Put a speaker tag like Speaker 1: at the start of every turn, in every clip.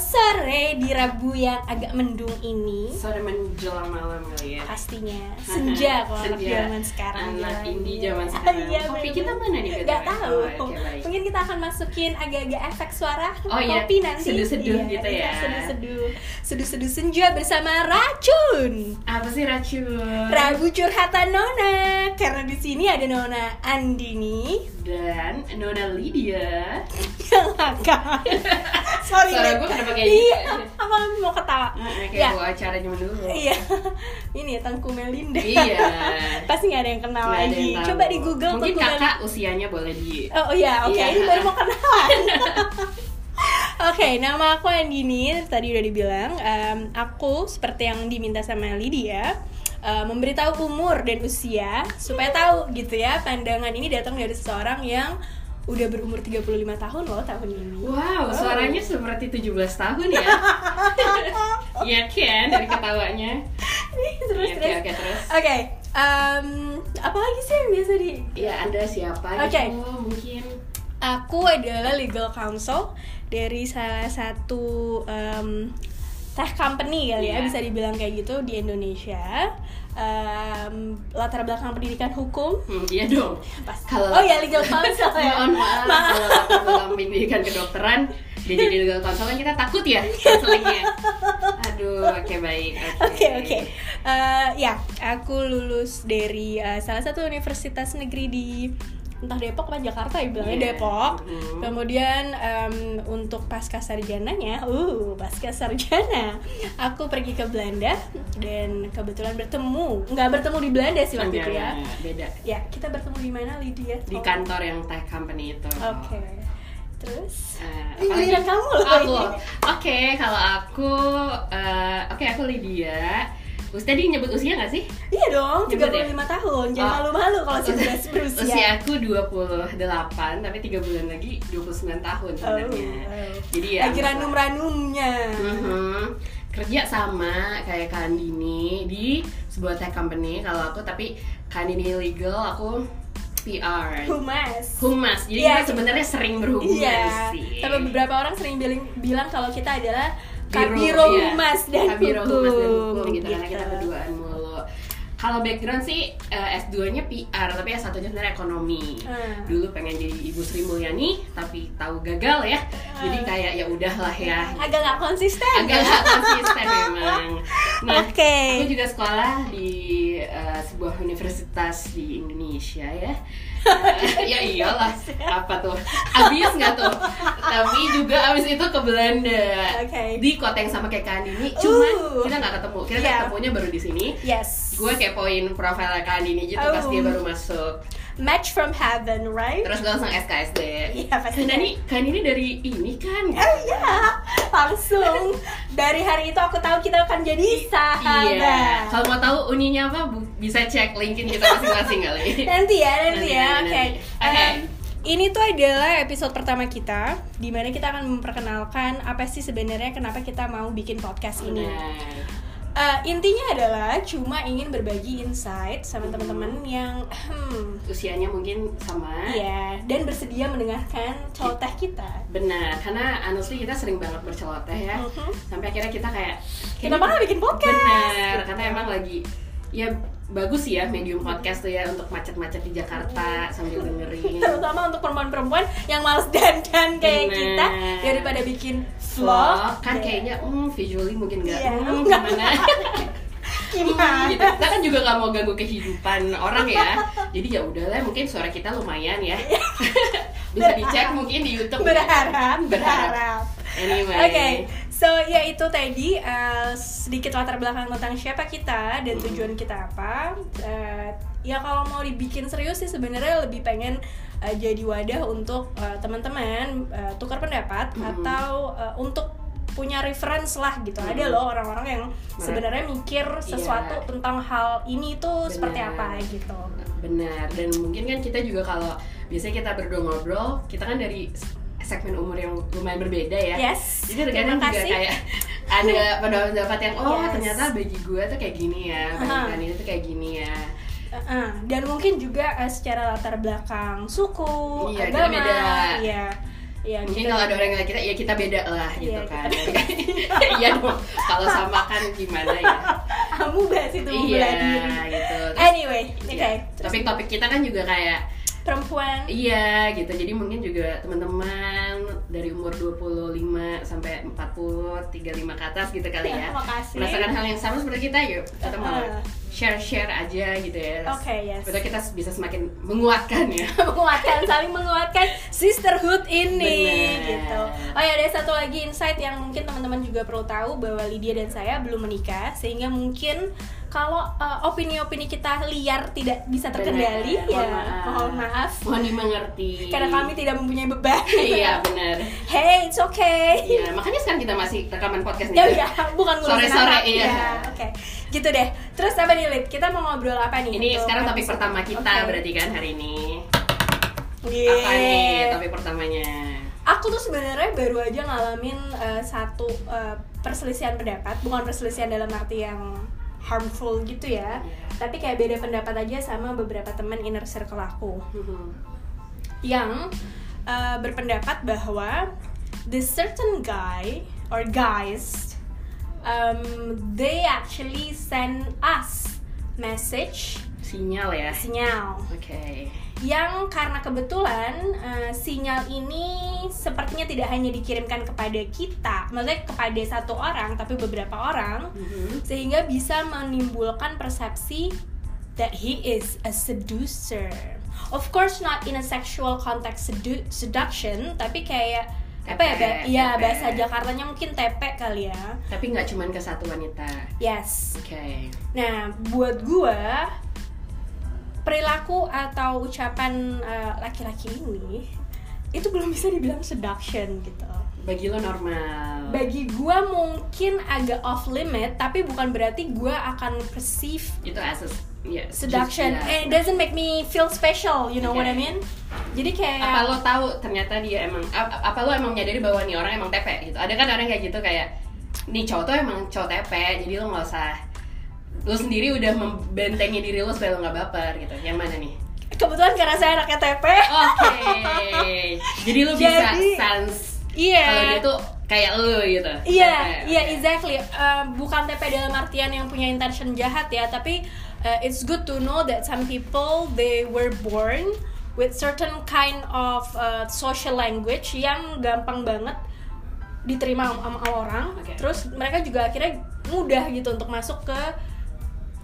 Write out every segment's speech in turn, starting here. Speaker 1: sore di Rabu yang agak mendung ini
Speaker 2: Sore menjelang malam kali ya.
Speaker 1: pastinya senja kalau anak
Speaker 2: Senja.
Speaker 1: zaman sekarang
Speaker 2: Anak
Speaker 1: bilangnya.
Speaker 2: indie zaman sekarang.
Speaker 1: Iya,
Speaker 2: Kopi
Speaker 1: bener.
Speaker 2: kita mana nih,
Speaker 1: nggak
Speaker 2: BTW?
Speaker 1: tahu
Speaker 2: Oh, oke, baik.
Speaker 1: mungkin kita akan masukin agak-agak efek suara
Speaker 2: Oh, iya.
Speaker 1: kopi nanti Iya,
Speaker 2: Seduh-seduh gitu ya.
Speaker 1: seduh-seduh seduh-seduh senja bersama racun
Speaker 2: Apa sih racun?
Speaker 1: Rabu curhatan Nona karena di sini ada Nona Andini
Speaker 2: Dan Nona Lydia.
Speaker 1: yang akan sorry
Speaker 2: Suara
Speaker 1: Nat.
Speaker 2: gue kenapa kayak
Speaker 1: iya
Speaker 2: gitu?
Speaker 1: aku mau ketawa
Speaker 2: Nah, kayak
Speaker 1: ya
Speaker 2: bawa acara zaman dulu.
Speaker 1: iya ini ya Tengku Melinda
Speaker 2: Iya.
Speaker 1: pasti nggak ada yang kenal
Speaker 2: Nggak ada
Speaker 1: lagi
Speaker 2: yang tahu.
Speaker 1: coba di Google
Speaker 2: Mungkin
Speaker 1: Tengku Melinda.
Speaker 2: kakak usianya boleh di
Speaker 1: Oh iya, oke
Speaker 2: Iya.
Speaker 1: ini baru mau kenalan. Oke, nama aku Andini, tadi udah dibilang Em, Aku, seperti yang diminta sama Lydia eh, Memberitahu umur dan usia Supaya tahu gitu ya, pandangan ini datang dari seseorang yang Udah berumur 35 tahun loh tahun ini
Speaker 2: Wow, suaranya seperti 17 tahun ya. Iya kan dari ketawanya. Iya,
Speaker 1: Terus,
Speaker 2: Oke,
Speaker 1: terus
Speaker 2: oke, terus.
Speaker 1: Oke, em, apa lagi sih yang biasa di
Speaker 2: Ya, Anda siapa
Speaker 1: Oke.
Speaker 2: gitu mungkin.
Speaker 1: Aku adalah legal counsel dari salah satu em, tech company kali ya
Speaker 2: Iya.
Speaker 1: bisa dibilang kayak gitu di Indonesia. Em, latar belakang pendidikan hukum.
Speaker 2: Hmm, iya dong.
Speaker 1: Pas.
Speaker 2: Kalau-
Speaker 1: oh ya legal counsel ya.
Speaker 2: Mohon maaf kalau aku belum pendidikan kedokteran dia jadi legal counsel kan kita takut ya counselingnya. Aduh, oke baik.
Speaker 1: Oke oke. Eh, ya, aku lulus dari eh, salah satu universitas negeri di entah Depok apa Jakarta ya bilangnya
Speaker 2: Iya.
Speaker 1: Depok.
Speaker 2: Mhm.
Speaker 1: Kemudian em, untuk pasca sarjananya, uh pasca sarjana, aku pergi ke Belanda dan kebetulan bertemu, nggak bertemu di Belanda sih waktu
Speaker 2: Enggak,
Speaker 1: itu ya.
Speaker 2: enggak, Iya, beda.
Speaker 1: Ya, kita bertemu di mana Lydia?
Speaker 2: Di kan-
Speaker 1: Tolong.
Speaker 2: kantor yang tech company itu.
Speaker 1: Oke. Terus?
Speaker 2: Eh,
Speaker 1: Ini
Speaker 2: apa lagi?
Speaker 1: giliran kamu loh.
Speaker 2: Aku.
Speaker 1: ini.
Speaker 2: Oke, kalau aku eh, oke aku Lydia. Us tadi nyebut usia nggak sih?
Speaker 1: Iya dong,
Speaker 2: Nyebut ya?
Speaker 1: 35 tahun. Jangan
Speaker 2: Oh.
Speaker 1: malu-malu kalau sudah berusia.
Speaker 2: Usia aku 28 tapi 3 bulan lagi 29 tahun sebenarnya.
Speaker 1: Oh,
Speaker 2: Jadi ya
Speaker 1: lagi eh. ranum-ranumnya.
Speaker 2: Mhm. Kerja sama kayak Kandini di sebuah tech company kalau aku tapi Kandini legal aku PR.
Speaker 1: Humas.
Speaker 2: Humas. Jadi
Speaker 1: Iya.
Speaker 2: kita sebenarnya sering berhubungan
Speaker 1: Iya.
Speaker 2: sih.
Speaker 1: Tapi beberapa orang sering bilang, bilang kalau kita adalah
Speaker 2: Biro,
Speaker 1: kabiro
Speaker 2: iya.
Speaker 1: humas dan
Speaker 2: Kabiro
Speaker 1: hukum.
Speaker 2: Humas dan Hukum gitu, karena
Speaker 1: Gitu.
Speaker 2: kita berduaan mulu. Kalau background sih eh, S2-nya PR, tapi S1-nya sebenarnya ekonomi.
Speaker 1: Hmm.
Speaker 2: Dulu pengen jadi Ibu Sri Mulyani, tapi tahu gagal ya.
Speaker 1: Ah.
Speaker 2: Jadi kayak ya udahlah ya.
Speaker 1: Agak nggak konsisten.
Speaker 2: Agak
Speaker 1: ya?
Speaker 2: gak konsisten memang. Nah,
Speaker 1: Oke.
Speaker 2: aku juga sekolah di eh, sebuah universitas di Indonesia ya. Eh, ya iyalah, apa tuh? Abis nggak tuh? Tapi juga abis itu ke Belanda.
Speaker 1: Oke.
Speaker 2: Di kota yang sama kayak Kandini, cuman
Speaker 1: Uh.
Speaker 2: kita nggak ketemu. Kita
Speaker 1: Iya.
Speaker 2: ketemunya baru di sini.
Speaker 1: Yes.
Speaker 2: Gue kepoin profil Kandini gitu pas
Speaker 1: Oh.
Speaker 2: dia baru masuk.
Speaker 1: Match from heaven, right?
Speaker 2: Terus gue langsung SKSD.
Speaker 1: Iya, pasti.
Speaker 2: Kandini, Nah, Kandini dari ini kan?
Speaker 1: Eh iya, langsung dari hari itu aku tahu kita akan jadi sahabat.
Speaker 2: Iya. Kalau mau tahu uninya apa, bu- bisa cek linkin kita masing-masing kali.
Speaker 1: nanti ya nanti,
Speaker 2: Nanti,
Speaker 1: ya oke
Speaker 2: nanti, nanti.
Speaker 1: Em,
Speaker 2: Oke.
Speaker 1: ini tuh adalah episode pertama kita di mana kita akan memperkenalkan apa sih sebenarnya kenapa kita mau bikin podcast ini
Speaker 2: Benar.
Speaker 1: Eh, intinya adalah cuma ingin berbagi insight sama teman-teman yang hmm,
Speaker 2: Usianya mungkin sama.
Speaker 1: iya dan bersedia mendengarkan celoteh kita
Speaker 2: Benar. Karena honestly kita sering banget berceloteh ya.
Speaker 1: Mhm.
Speaker 2: Sampai akhirnya kita kayak
Speaker 1: kenapa nggak bikin podcast
Speaker 2: Benar. Karena emang lagi ya bagus sih ya medium podcast tuh ya untuk macet-macet di Jakarta sambil dengerin.
Speaker 1: terutama untuk perempuan-perempuan yang males dandan kayak
Speaker 2: Benar.
Speaker 1: kita daripada bikin
Speaker 2: Vlog
Speaker 1: vlog
Speaker 2: kan kayaknya hmm, visually mungkin nggak
Speaker 1: Iya.
Speaker 2: hmm, gimana
Speaker 1: gimana
Speaker 2: gitu. Kita kan juga nggak mau ganggu kehidupan orang ya. Jadi ya udahlah, mungkin suara kita lumayan ya.
Speaker 1: Iya.
Speaker 2: Bisa dicek mungkin di YouTube.
Speaker 1: berharap
Speaker 2: Berharap.
Speaker 1: berharap
Speaker 2: Anyway.
Speaker 1: Oke, so ya itu tadi eh, sedikit latar belakang tentang siapa kita dan
Speaker 2: Hmm.
Speaker 1: tujuan kita apa. Eh, ya kalau mau dibikin serius sih sebenarnya lebih pengen eh, jadi wadah untuk eh, teman-teman eh, tukar pendapat
Speaker 2: Hmm.
Speaker 1: atau eh, untuk punya reference lah gitu. Ada loh orang-orang yang sebenarnya mikir sesuatu
Speaker 2: Hmm. Nah. Iya.
Speaker 1: tentang hal ini tuh seperti
Speaker 2: Benar.
Speaker 1: apa gitu.
Speaker 2: Benar. Dan mungkin kan kita juga kalau biasanya kita berdua ngobrol, kita kan dari segmen umur yang lumayan berbeda ya.
Speaker 1: Yes.
Speaker 2: Jadi terkadang
Speaker 1: Terima
Speaker 2: juga
Speaker 1: kasih.
Speaker 2: kayak ada pendapat-pendapat yang oh
Speaker 1: Yes.
Speaker 2: ternyata bagi gue tuh kayak gini ya, bagi
Speaker 1: Aha.
Speaker 2: Kak Nini tuh kayak gini ya.
Speaker 1: Uh-uh. dan mungkin juga uh, secara latar eh, belakang suku
Speaker 2: Iya,
Speaker 1: agama
Speaker 2: kita beda.
Speaker 1: iya Iya,
Speaker 2: mungkin
Speaker 1: kita-
Speaker 2: kalau ada orang yang ngeliat kita ya kita beda lah gitu
Speaker 1: Iya,
Speaker 2: kan iya dong kalau sama kan gimana ya
Speaker 1: kamu bahas itu
Speaker 2: iya
Speaker 1: membela diri
Speaker 2: gitu Terus,
Speaker 1: anyway oke
Speaker 2: iya,
Speaker 1: terus
Speaker 2: topik-topik kita kan juga kayak
Speaker 1: perempuan
Speaker 2: Iya gitu, jadi mungkin juga teman-teman dari umur 25 sampai 40, 35 ke atas gitu kali
Speaker 1: Iya.
Speaker 2: ya
Speaker 1: Makasih.
Speaker 2: Merasakan hal yang sama seperti kita yuk,
Speaker 1: Ah.
Speaker 2: kita malah share-share aja gitu ya
Speaker 1: oke yes
Speaker 2: Supaya kita bisa semakin menguatkan ya
Speaker 1: menguatkan saling menguatkan sisterhood ini
Speaker 2: Bener.
Speaker 1: gitu. Oh ya ada satu lagi insight yang mungkin teman-teman juga perlu tahu bahwa Lydia dan saya belum menikah sehingga mungkin kalau uh, opini-opini kita liar tidak bisa terkendali
Speaker 2: Benar,
Speaker 1: ya mohon maaf
Speaker 2: Mohon dimengerti
Speaker 1: karena kami tidak mempunyai beban.
Speaker 2: Iya benar
Speaker 1: Hey, it's okay.
Speaker 2: Iya, makanya sekarang kita masih rekaman podcast nih
Speaker 1: Ya udah, bukan ngurusin
Speaker 2: Sore-sore,
Speaker 1: anak.
Speaker 2: iya.
Speaker 1: Ya, Oke, gitu deh. Terus apa nih, Lid? Kita mau ngobrol apa nih?
Speaker 2: Ini
Speaker 1: untuk
Speaker 2: sekarang topik
Speaker 1: episode?
Speaker 2: pertama kita
Speaker 1: Oke. Iya.
Speaker 2: berarti kan hari ini
Speaker 1: Yeay.
Speaker 2: Apa nih topik pertamanya?
Speaker 1: aku tuh sebenarnya baru aja ngalamin eh, satu eh, perselisihan pendapat bukan perselisihan dalam arti yang harmful gitu ya
Speaker 2: Iya.
Speaker 1: tapi kayak beda pendapat aja sama beberapa teman inner circle aku yang eh, berpendapat bahwa this certain guy or guys um, they actually send us message
Speaker 2: Sinyal ya
Speaker 1: sinyal
Speaker 2: Oke.
Speaker 1: yang karena kebetulan eh, sinyal ini sepertinya tidak hanya dikirimkan kepada kita, maksudnya kepada satu orang tapi beberapa orang sehingga bisa menimbulkan persepsi that he is a seducer. Of course not in a sexual context sedu- seduction, tapi kayak apa ya?
Speaker 2: Tepe,
Speaker 1: Ba- Iya,
Speaker 2: tepe.
Speaker 1: bahasa Jakartanya mungkin tepek kali ya.
Speaker 2: Tapi nggak cuman ke satu wanita.
Speaker 1: Yes.
Speaker 2: Oke.
Speaker 1: Nah, buat gua perilaku atau ucapan eh, laki-laki ini itu belum bisa dibilang seduction gitu.
Speaker 2: Bagi lo normal.
Speaker 1: Bagi gua mungkin agak off limit, tapi bukan berarti gua akan perceive
Speaker 2: Itu asas. Ya.
Speaker 1: seduction.
Speaker 2: just-
Speaker 1: Eh, it
Speaker 2: ya.
Speaker 1: doesn't make me feel special, you know what I
Speaker 2: Okay.
Speaker 1: mean? Jadi kayak
Speaker 2: Apa lo tahu ternyata dia emang ap- apa lo emang menyadari bahwa nih orang emang tepe gitu. Ada kan orang kayak gitu kayak nih cowok tuh emang cowok tepe, jadi lo nggak usah lo sendiri udah membentengi diri lo supaya lo nggak baper gitu. Yang mana nih?
Speaker 1: kebetulan karena saya anaknya TP.
Speaker 2: Oke. jadi lo bisa
Speaker 1: Jadi-
Speaker 2: sense
Speaker 1: Iya.
Speaker 2: kalau gitu dia tuh kayak lo gitu.
Speaker 1: Iya,
Speaker 2: Tepe.
Speaker 1: iya exactly. Uh, bukan TP dalam artian yang punya intention jahat ya, tapi uh, it's good to know that some people they were born with certain kind of uh, social language yang gampang banget diterima sama sama orang.
Speaker 2: Oke.
Speaker 1: Terus mereka juga akhirnya mudah gitu untuk masuk ke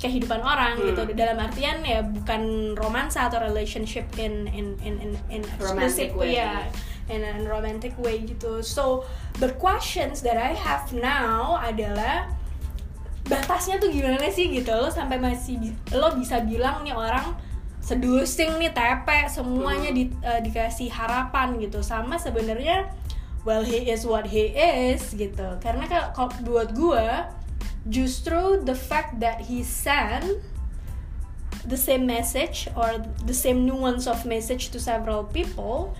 Speaker 1: kehidupan orang
Speaker 2: Hmm.
Speaker 1: gitu dalam artian ya bukan romansa atau relationship in in in in, in
Speaker 2: Romantic
Speaker 1: exclusive,
Speaker 2: way.
Speaker 1: ya in a romantic way gitu. So the questions that I have now adalah batasnya tuh gimana sih gitu lo sampai masih bi- lo bisa bilang nih orang seducing nih tepe
Speaker 2: Hmm.
Speaker 1: semuanya di- eh, dikasih harapan gitu sama sebenarnya well he is what he is gitu karena kalau- kalau buat gue justru the fact that he sent the same message or the same nuance of message to several people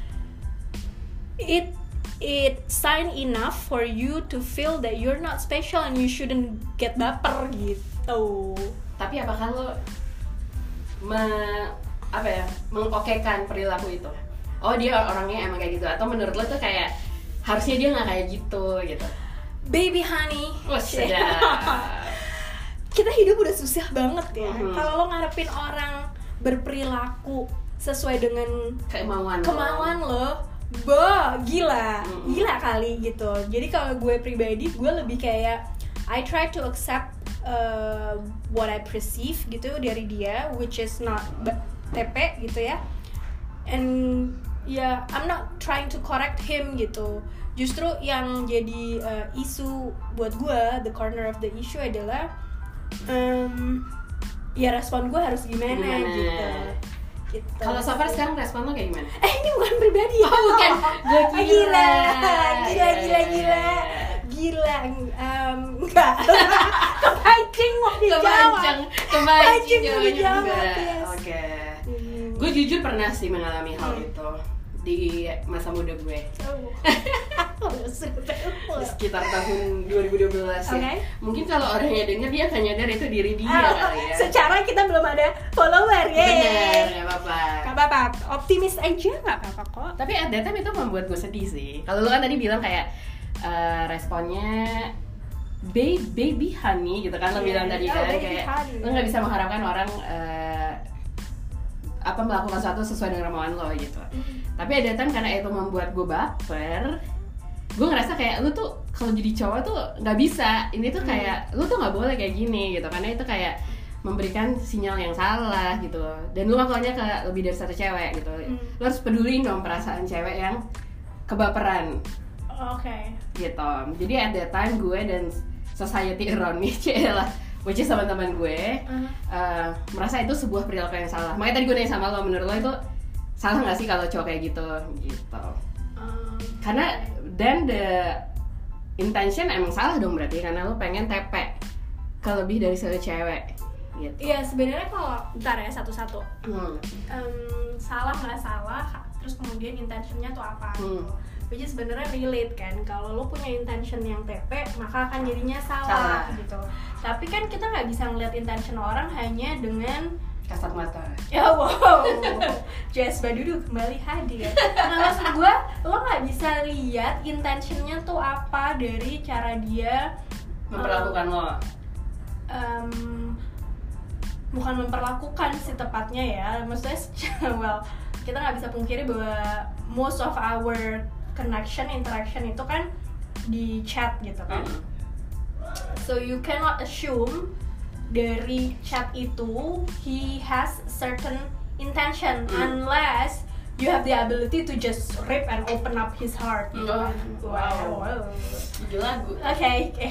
Speaker 1: it it sign enough for you to feel that you're not special and you shouldn't get baper gitu
Speaker 2: tapi apakah lo me, apa ya mengokekan perilaku itu oh dia orangnya emang kayak gitu atau menurut lo tuh kayak harusnya dia nggak kayak gitu gitu
Speaker 1: baby honey
Speaker 2: wah
Speaker 1: Shit.
Speaker 2: sudah
Speaker 1: kita hidup udah susah banget ya
Speaker 2: Mhm.
Speaker 1: kalau lo ngarepin orang berperilaku sesuai dengan
Speaker 2: kemauan lo.
Speaker 1: kemauan lo bo gila
Speaker 2: Mm.
Speaker 1: gila kali gitu jadi kalau gue pribadi gue lebih kayak I try to accept uh, what I perceive gitu dari dia which is not b- TP gitu ya and ya I'm not trying to correct him gitu justru yang jadi uh, isu buat gue the corner of the issue adalah um, ya respon gue harus gimana,
Speaker 2: Gimana?
Speaker 1: gitu Gitu.
Speaker 2: kalau so far sekarang respon lo kayak gimana
Speaker 1: Eh ini bukan pribadi ya?
Speaker 2: Oh, bukan. Gua
Speaker 1: Ah,
Speaker 2: gila.
Speaker 1: Gila, gila, gila Gila, em, enggak Kepancing mau dijawab
Speaker 2: kepanjang kepanjang
Speaker 1: Kepancing
Speaker 2: jawabannya
Speaker 1: dijawab,
Speaker 2: juga
Speaker 1: yes.
Speaker 2: oke
Speaker 1: Hmm.
Speaker 2: gue jujur pernah sih mengalami hal
Speaker 1: Hmm.
Speaker 2: itu di masa muda gue
Speaker 1: Oh.
Speaker 2: di sekitar tahun 2012
Speaker 1: Oke.
Speaker 2: ya. Mungkin kalau orangnya denger dia akan nyadar itu diri dia
Speaker 1: Ah,
Speaker 2: kali ya.
Speaker 1: secara kita belum ada follower
Speaker 2: Bener,
Speaker 1: ya
Speaker 2: nggak apa-apa.
Speaker 1: Gak apa-apa, optimis aja gak apa-apa kok
Speaker 2: Tapi at that time itu membuat gue sedih sih. Kalau lu kan tadi bilang kayak eh, responnya baby baby honey gitu kan lo
Speaker 1: Iya,
Speaker 2: bilang tadi
Speaker 1: oh,
Speaker 2: kan
Speaker 1: baby
Speaker 2: kayak
Speaker 1: honey.
Speaker 2: lo nggak bisa mengharapkan orang eh, apa melakukan sesuatu sesuai dengan kemauan lo gitu. Tapi ada time karena itu membuat gue baper gue ngerasa kayak lu tuh kalau jadi cowok tuh nggak bisa ini tuh kayak lu tuh nggak boleh kayak gini gitu karena itu kayak memberikan sinyal yang salah gitu dan lu lakukannya ke lebih dari satu cewek gitu
Speaker 1: Hmm.
Speaker 2: lu harus peduliin dong perasaan cewek yang kebaperan
Speaker 1: Oke
Speaker 2: gitu jadi at that time gue dan society around me lah which is teman-teman gue
Speaker 1: Uh-huh.
Speaker 2: eh, merasa itu sebuah perilaku yang salah makanya tadi gue nanya sama lo menurut lo itu salah nggak sih kalau cowok kayak gitu gitu karena dan the intention emang salah dong berarti karena lo pengen tepe ke lebih dari satu cewek gitu
Speaker 1: Iya sebenarnya kalau ntar ya satu-satu
Speaker 2: hmm.
Speaker 1: Em, salah nggak salah terus kemudian intentionnya tuh apa gitu.
Speaker 2: Hmm.
Speaker 1: which is sebenarnya relate kan kalau lo punya intention yang tepe maka akan jadinya salah,
Speaker 2: Salah.
Speaker 1: gitu tapi kan kita nggak bisa ngeliat intention orang hanya dengan
Speaker 2: kasat mata
Speaker 1: ya wow Jazz Badudu kembali hadir nah maksud gue lo nggak bisa lihat intentionnya tuh apa dari cara dia
Speaker 2: memperlakukan lo
Speaker 1: em, bukan memperlakukan sih tepatnya ya maksudnya secara- well kita nggak bisa pungkiri bahwa most of our connection interaction itu kan di chat gitu kan
Speaker 2: Hmm.
Speaker 1: so you cannot assume dari chat itu he has certain intention
Speaker 2: Hmm.
Speaker 1: unless you have the ability to just rip and open up his heart gitu
Speaker 2: Oh,
Speaker 1: kan.
Speaker 2: wow.
Speaker 1: wow.
Speaker 2: gila gue
Speaker 1: Oke, oke.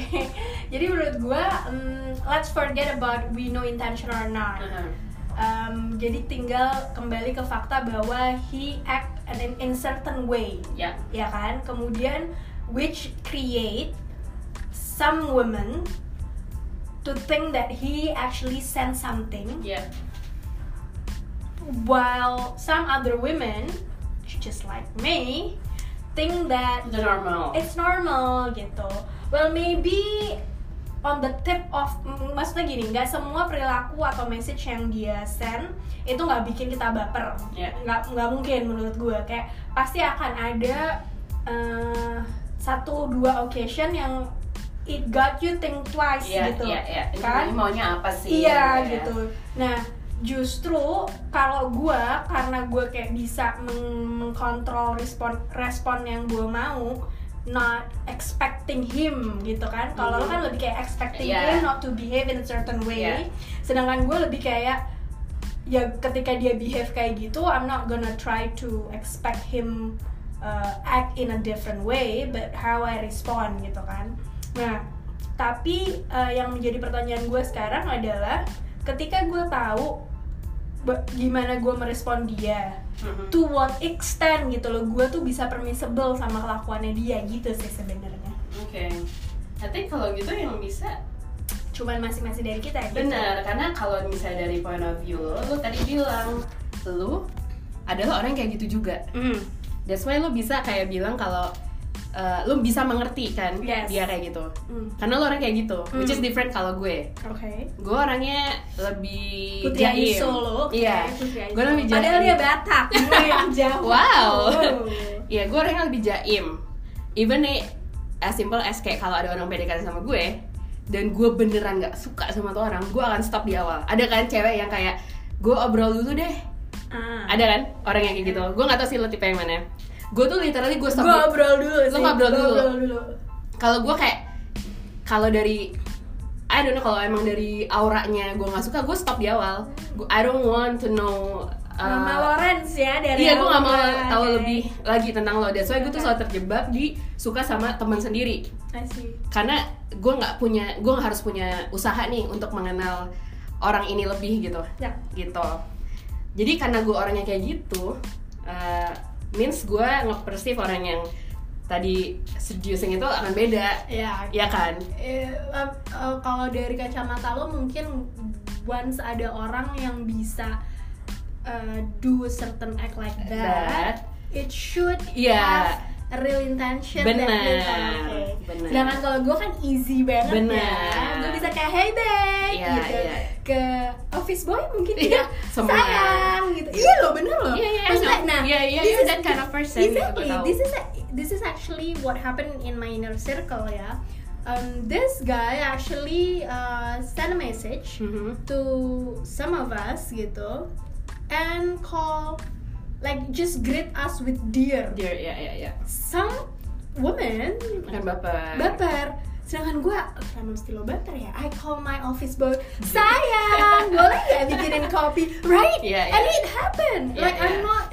Speaker 1: Jadi menurut gue, mm, let's forget about we know intention or not.
Speaker 2: Hmm.
Speaker 1: Um, jadi tinggal kembali ke fakta bahwa he act in, in certain way,
Speaker 2: ya
Speaker 1: ya kan? Kemudian which create some women to think that he actually sent something,
Speaker 2: ya
Speaker 1: while some other women, just like me, think that
Speaker 2: itu normal
Speaker 1: it's normal gitu. Well maybe on the tip of mm, maksudnya gini, nggak semua perilaku atau message yang dia send itu nggak bikin kita baper.
Speaker 2: Iya.
Speaker 1: Nggak nggak mungkin menurut gue kayak pasti akan ada eh, satu dua occasion yang it got you think twice
Speaker 2: Iya,
Speaker 1: gitu.
Speaker 2: iya, iya. Ini
Speaker 1: Kan?
Speaker 2: maunya apa sih?
Speaker 1: Iya
Speaker 2: Ya.
Speaker 1: gitu. Nah justru kalau gua karena gua kayak bisa meng- mengkontrol respon respon yang gua mau, not expecting him gitu kan. Kalau lo kan lebih kayak expecting
Speaker 2: Hmm. Iya.
Speaker 1: him not to behave in a certain way.
Speaker 2: Iya.
Speaker 1: Sedangkan gua lebih kayak ya ketika dia behave kayak gitu, I'm not gonna try to expect him uh, act in a different way, but how I respond gitu kan. Nah, tapi eh, yang menjadi pertanyaan gue sekarang adalah ketika gue tahu ba- gimana gue merespon dia,
Speaker 2: Mhm.
Speaker 1: to what extent gitu loh, gue tuh bisa permissible sama kelakuannya dia gitu sih sebenarnya.
Speaker 2: Oke. I think kalau gitu yang bisa
Speaker 1: Cuman masing-masing dari kita ya. gitu.
Speaker 2: Benar, karena kalau misalnya dari point of view lo, lo tadi bilang lo adalah orang yang kayak gitu juga.
Speaker 1: Mm.
Speaker 2: That's why lo bisa kayak bilang kalau uh, lo bisa mengerti kan
Speaker 1: Yes.
Speaker 2: dia kayak gitu.
Speaker 1: Mm.
Speaker 2: Karena lo orang kayak gitu, which is
Speaker 1: Hmm.
Speaker 2: different kalau gue.
Speaker 1: Oke.
Speaker 2: Gue orangnya lebih
Speaker 1: Putri
Speaker 2: jaim.
Speaker 1: Aisyah lo. oke,
Speaker 2: Iya.
Speaker 1: Putri Aisyah.
Speaker 2: Gue lebih jaim.
Speaker 1: Padahal dia Batak, gue yang Jawa.
Speaker 2: Wow.
Speaker 1: Oh.
Speaker 2: Iya, gue orangnya lebih jaim. Even nih as simple as kayak kalau ada orang PDKT sama gue dan gue beneran nggak suka sama tuh orang, gue akan stop di awal. Ada kan cewek yang kayak gue obrol dulu deh.
Speaker 1: Ah.
Speaker 2: Ada kan orang yang kayak gitu. Gue nggak tahu sih lo tipe yang mana. Gue tuh literally gue stop.
Speaker 1: Gue
Speaker 2: di-
Speaker 1: obrol dulu
Speaker 2: Lo
Speaker 1: sih.
Speaker 2: ngobrol
Speaker 1: gua
Speaker 2: dulu.
Speaker 1: Obrol dulu.
Speaker 2: Kalau gue kayak kalau dari I don't know kalau emang dari auranya gue nggak suka, gue stop di awal. Gua, I don't want to know. uh,
Speaker 1: Mama Lawrence ya dari
Speaker 2: Iya, gue
Speaker 1: awal.
Speaker 2: gak mau tahu
Speaker 1: Oke.
Speaker 2: lebih lagi tentang lo. That's why gue
Speaker 1: Oke.
Speaker 2: tuh selalu terjebak di suka sama teman sendiri.
Speaker 1: I see.
Speaker 2: Karena gue nggak punya, gue nggak harus punya usaha nih untuk mengenal orang ini lebih gitu,
Speaker 1: Ya.
Speaker 2: gitu. Jadi karena gue orangnya kayak gitu, eh, means gue ngepersif orang yang tadi seducing itu akan beda,
Speaker 1: Ya,
Speaker 2: ya kan?
Speaker 1: eh, eh, eh, kalau dari kacamata lo mungkin once ada orang yang bisa eh, do certain act like that,
Speaker 2: That,
Speaker 1: it should
Speaker 2: Iya.
Speaker 1: have a real intention dan
Speaker 2: Benar,
Speaker 1: real benefit.
Speaker 2: benar.
Speaker 1: Sedangkan kalau gue kan easy banget ya,
Speaker 2: Benar.
Speaker 1: gue bisa kayak hey babe
Speaker 2: Iya,
Speaker 1: gitu
Speaker 2: iya.
Speaker 1: ke office boy mungkin
Speaker 2: Iya,
Speaker 1: tidak
Speaker 2: semua.
Speaker 1: sayang gitu. Iya loh bener loh.
Speaker 2: Iya, iya,
Speaker 1: Maksudnya,
Speaker 2: no.
Speaker 1: nah,
Speaker 2: Iya, iya,
Speaker 1: this
Speaker 2: you're
Speaker 1: is-
Speaker 2: that kind of person, gitu,
Speaker 1: Exactly.
Speaker 2: gue tahu.
Speaker 1: This is a- this is actually what happened in my inner circle ya. Um, this guy actually uh, sent a message
Speaker 2: Mhm.
Speaker 1: to some of us gitu and call like just greet us with dear
Speaker 2: Dear, ya ya ya.
Speaker 1: some women
Speaker 2: Makan baper.
Speaker 1: baper sedangkan gue kenapa mesti lo baper ya I call my office boy sayang boleh ya bikinin kopi right
Speaker 2: Iya, iya.
Speaker 1: and it happened
Speaker 2: Iya,
Speaker 1: like I'm
Speaker 2: iya.
Speaker 1: not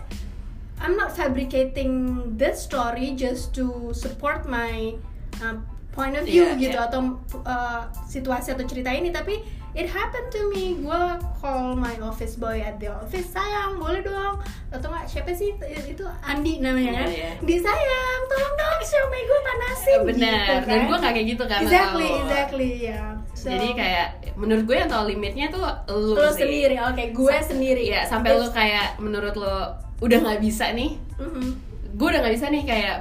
Speaker 1: I'm not fabricating this story just to support my uh, point of view
Speaker 2: Iya,
Speaker 1: gitu
Speaker 2: iya.
Speaker 1: atau uh, situasi atau cerita ini tapi it happened to me gue call my office boy at the office sayang boleh dong atau nggak siapa sih itu Andi namanya kan
Speaker 2: Iya, iya.
Speaker 1: di sayang tolong dong Xiaomi gue panasin
Speaker 2: Benar.
Speaker 1: gitu,
Speaker 2: Dan
Speaker 1: kan?
Speaker 2: gue gak kayak gitu kan. lo
Speaker 1: exactly
Speaker 2: tahu.
Speaker 1: exactly ya So,
Speaker 2: Jadi kayak menurut gue yang tau limitnya tuh lu,
Speaker 1: lo
Speaker 2: sih.
Speaker 1: sendiri oke gue sendiri
Speaker 2: Iya, sampai lu kayak menurut lo udah nggak bisa nih.
Speaker 1: Mhm.
Speaker 2: Gue udah nggak bisa nih kayak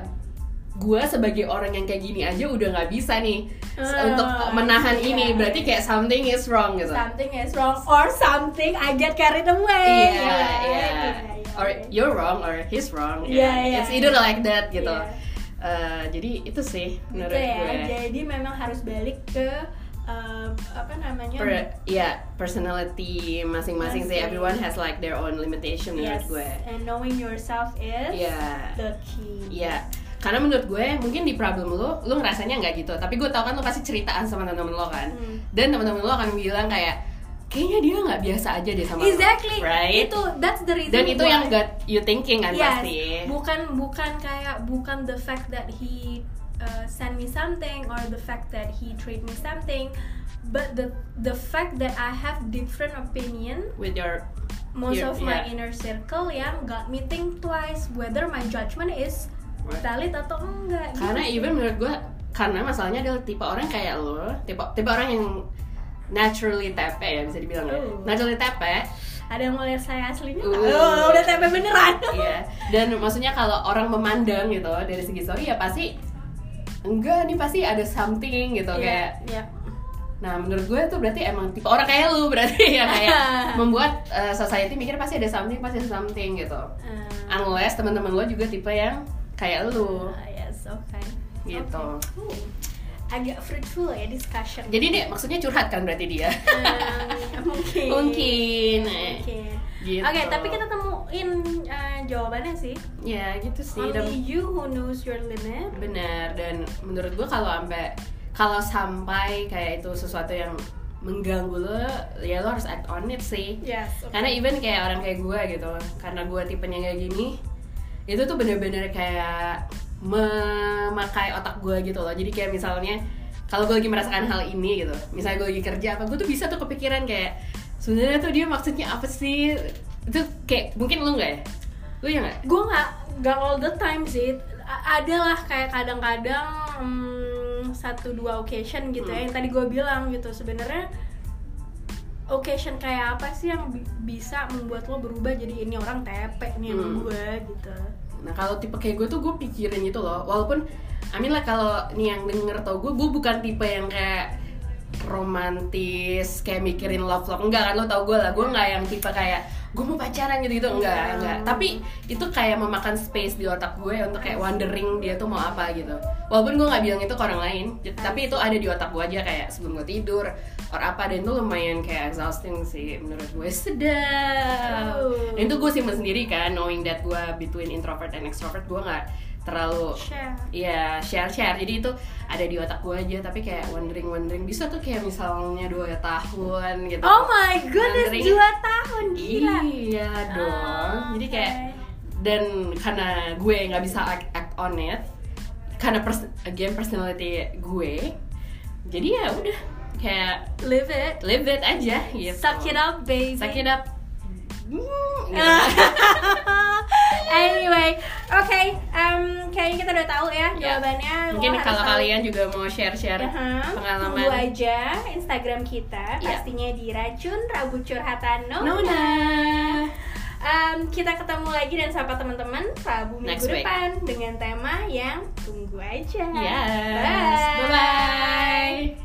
Speaker 2: gue sebagai orang yang kayak gini aja udah nggak bisa nih
Speaker 1: Ah,
Speaker 2: untuk menahan
Speaker 1: iya.
Speaker 2: ini. Berarti kayak something is wrong gitu.
Speaker 1: something is wrong or something I get carried away
Speaker 2: Iya,
Speaker 1: ya
Speaker 2: iya.
Speaker 1: kan?
Speaker 2: Or
Speaker 1: iya.
Speaker 2: you're wrong or he's wrong.
Speaker 1: Iya, iya.
Speaker 2: It's either like that gitu.
Speaker 1: Iya.
Speaker 2: Eh, jadi itu sih menurut
Speaker 1: Gitu ya
Speaker 2: gue.
Speaker 1: jadi memang harus balik ke um, apa namanya
Speaker 2: per ya personality masing-masing sih
Speaker 1: Masing.
Speaker 2: everyone has like their own limitation menurut
Speaker 1: yes
Speaker 2: gue
Speaker 1: and knowing yourself is
Speaker 2: Iya
Speaker 1: the key
Speaker 2: Iya karena menurut gue mungkin di problem lo lo ngerasanya nggak gitu tapi gue tau kan lo pasti ceritaan sama teman-teman lo kan
Speaker 1: Hmm.
Speaker 2: dan teman-teman lo akan bilang kayak kayaknya dia nggak biasa aja deh sama lo."
Speaker 1: exactly
Speaker 2: right
Speaker 1: itu that's the reason
Speaker 2: dan itu
Speaker 1: why-
Speaker 2: yang got you thinking kan
Speaker 1: Yes,
Speaker 2: pasti
Speaker 1: bukan bukan kayak bukan the fact that he uh, send me something or the fact that he treat me something, but the the fact that I have different opinion
Speaker 2: with your
Speaker 1: most
Speaker 2: Your-
Speaker 1: of my
Speaker 2: yeah.
Speaker 1: inner circle yang got me think twice whether my judgment is valid atau enggak. gitu
Speaker 2: karena
Speaker 1: sih.
Speaker 2: even menurut gue karena masalahnya adalah tipe orang kayak lo tipe tipe orang yang naturally tepe ya bisa dibilang ya
Speaker 1: Oh.
Speaker 2: naturally tepe
Speaker 1: ada yang mau lihat saya aslinya
Speaker 2: Uh.
Speaker 1: nggak? Oh, udah tempe beneran.
Speaker 2: Iya. Dan maksudnya kalau orang memandang gitu dari segi story ya pasti enggak nih pasti ada something gitu kayak.
Speaker 1: Iya,
Speaker 2: Nah menurut gue tuh berarti emang tipe orang kayak lu berarti ya kayak membuat eh, society mikir pasti ada something pasti ada something gitu.
Speaker 1: iya. Uh,
Speaker 2: Unless teman-teman lo juga tipe yang kayak lu
Speaker 1: uh, yes, okay.
Speaker 2: gitu.
Speaker 1: Okay. Ooh, Agak fruitful ya discussion.
Speaker 2: Jadi deh maksudnya curhat kan berarti dia.
Speaker 1: Hmm, mungkin
Speaker 2: Mungkin. eh,
Speaker 1: Mungkin.
Speaker 2: Gitu.
Speaker 1: Oke, tapi kita temuin eh, jawabannya sih.
Speaker 2: Ya gitu sih. Dan-
Speaker 1: Only you who knows your limit.
Speaker 2: benar dan menurut gue kalau sampai kalau sampai kayak itu sesuatu yang mengganggu lo ya lo harus act on it sih
Speaker 1: Yes.
Speaker 2: karena even kayak orang kayak gue gitu karena gue tipenya kayak gini itu tuh bener-bener kayak memakai otak gue gitu loh jadi kayak misalnya kalau gue lagi merasakan hal ini gitu misalnya gue lagi kerja apa gue tuh bisa tuh kepikiran kayak sebenarnya tuh dia maksudnya apa sih itu kayak mungkin lo nggak ya lo ya nggak
Speaker 1: gue nggak nggak all the time sih. A- adalah kayak kadang-kadang hmm, satu dua occasion gitu ya.
Speaker 2: Hmm.
Speaker 1: Yang tadi gue bilang gitu sebenarnya occasion kayak apa sih yang bi- bisa membuat lo berubah jadi ini orang tepe nih sama
Speaker 2: Hmm.
Speaker 1: gue gitu.
Speaker 2: Nah kalau tipe kayak gue tuh gue pikirin gitu loh Walaupun I mean lah kalau nih yang denger tau gue Gue bukan tipe yang kayak romantis Kayak mikirin love love Enggak kan lo tau gue lah Gue nggak yang tipe kayak Gue mau pacaran gitu-gitu Enggak, enggak Tapi itu kayak memakan space di otak gue Untuk kayak wondering dia tuh mau apa gitu Walaupun gue nggak bilang itu ke orang lain j- Tapi itu ada di otak gue aja kayak sebelum gue tidur Or apa Dan itu lumayan kayak exhausting sih Menurut gue sedap
Speaker 1: Oh.
Speaker 2: Dan itu gue simpen sendiri kan knowing that gue between introvert and extrovert gue nggak terlalu
Speaker 1: Share.
Speaker 2: ya share share jadi itu ada di otak gue aja tapi kayak wondering wondering bisa tuh kayak misalnya dua tahun gitu
Speaker 1: Oh my goodness,
Speaker 2: Ngantri.
Speaker 1: dua tahun gila.
Speaker 2: iya dong
Speaker 1: Ah,
Speaker 2: jadi kayak
Speaker 1: oke.
Speaker 2: dan karena gue nggak bisa act, act on it karena pers- again personality gue jadi ya udah kayak
Speaker 1: Live it.
Speaker 2: live it aja gitu
Speaker 1: Suck it up, baby. Mm,
Speaker 2: suck it up Hmm, gitu.
Speaker 1: anyway, oke, em, kayaknya kita udah tahu ya
Speaker 2: Ya.
Speaker 1: jawabannya. Lo
Speaker 2: Mungkin
Speaker 1: Iya, harus
Speaker 2: kalau
Speaker 1: tahu. Iya.
Speaker 2: kalian juga mau share-share
Speaker 1: Aha, tunggu
Speaker 2: pengalaman
Speaker 1: aja Instagram kita
Speaker 2: Ya.
Speaker 1: pastinya di racun rabu curhatan Nona.
Speaker 2: Nona.
Speaker 1: Eh, em, kita ketemu lagi dan sapa teman-teman Rabu minggu
Speaker 2: Next week.
Speaker 1: depan dengan tema yang tunggu aja.
Speaker 2: Yes.
Speaker 1: Bye.
Speaker 2: Bye-bye.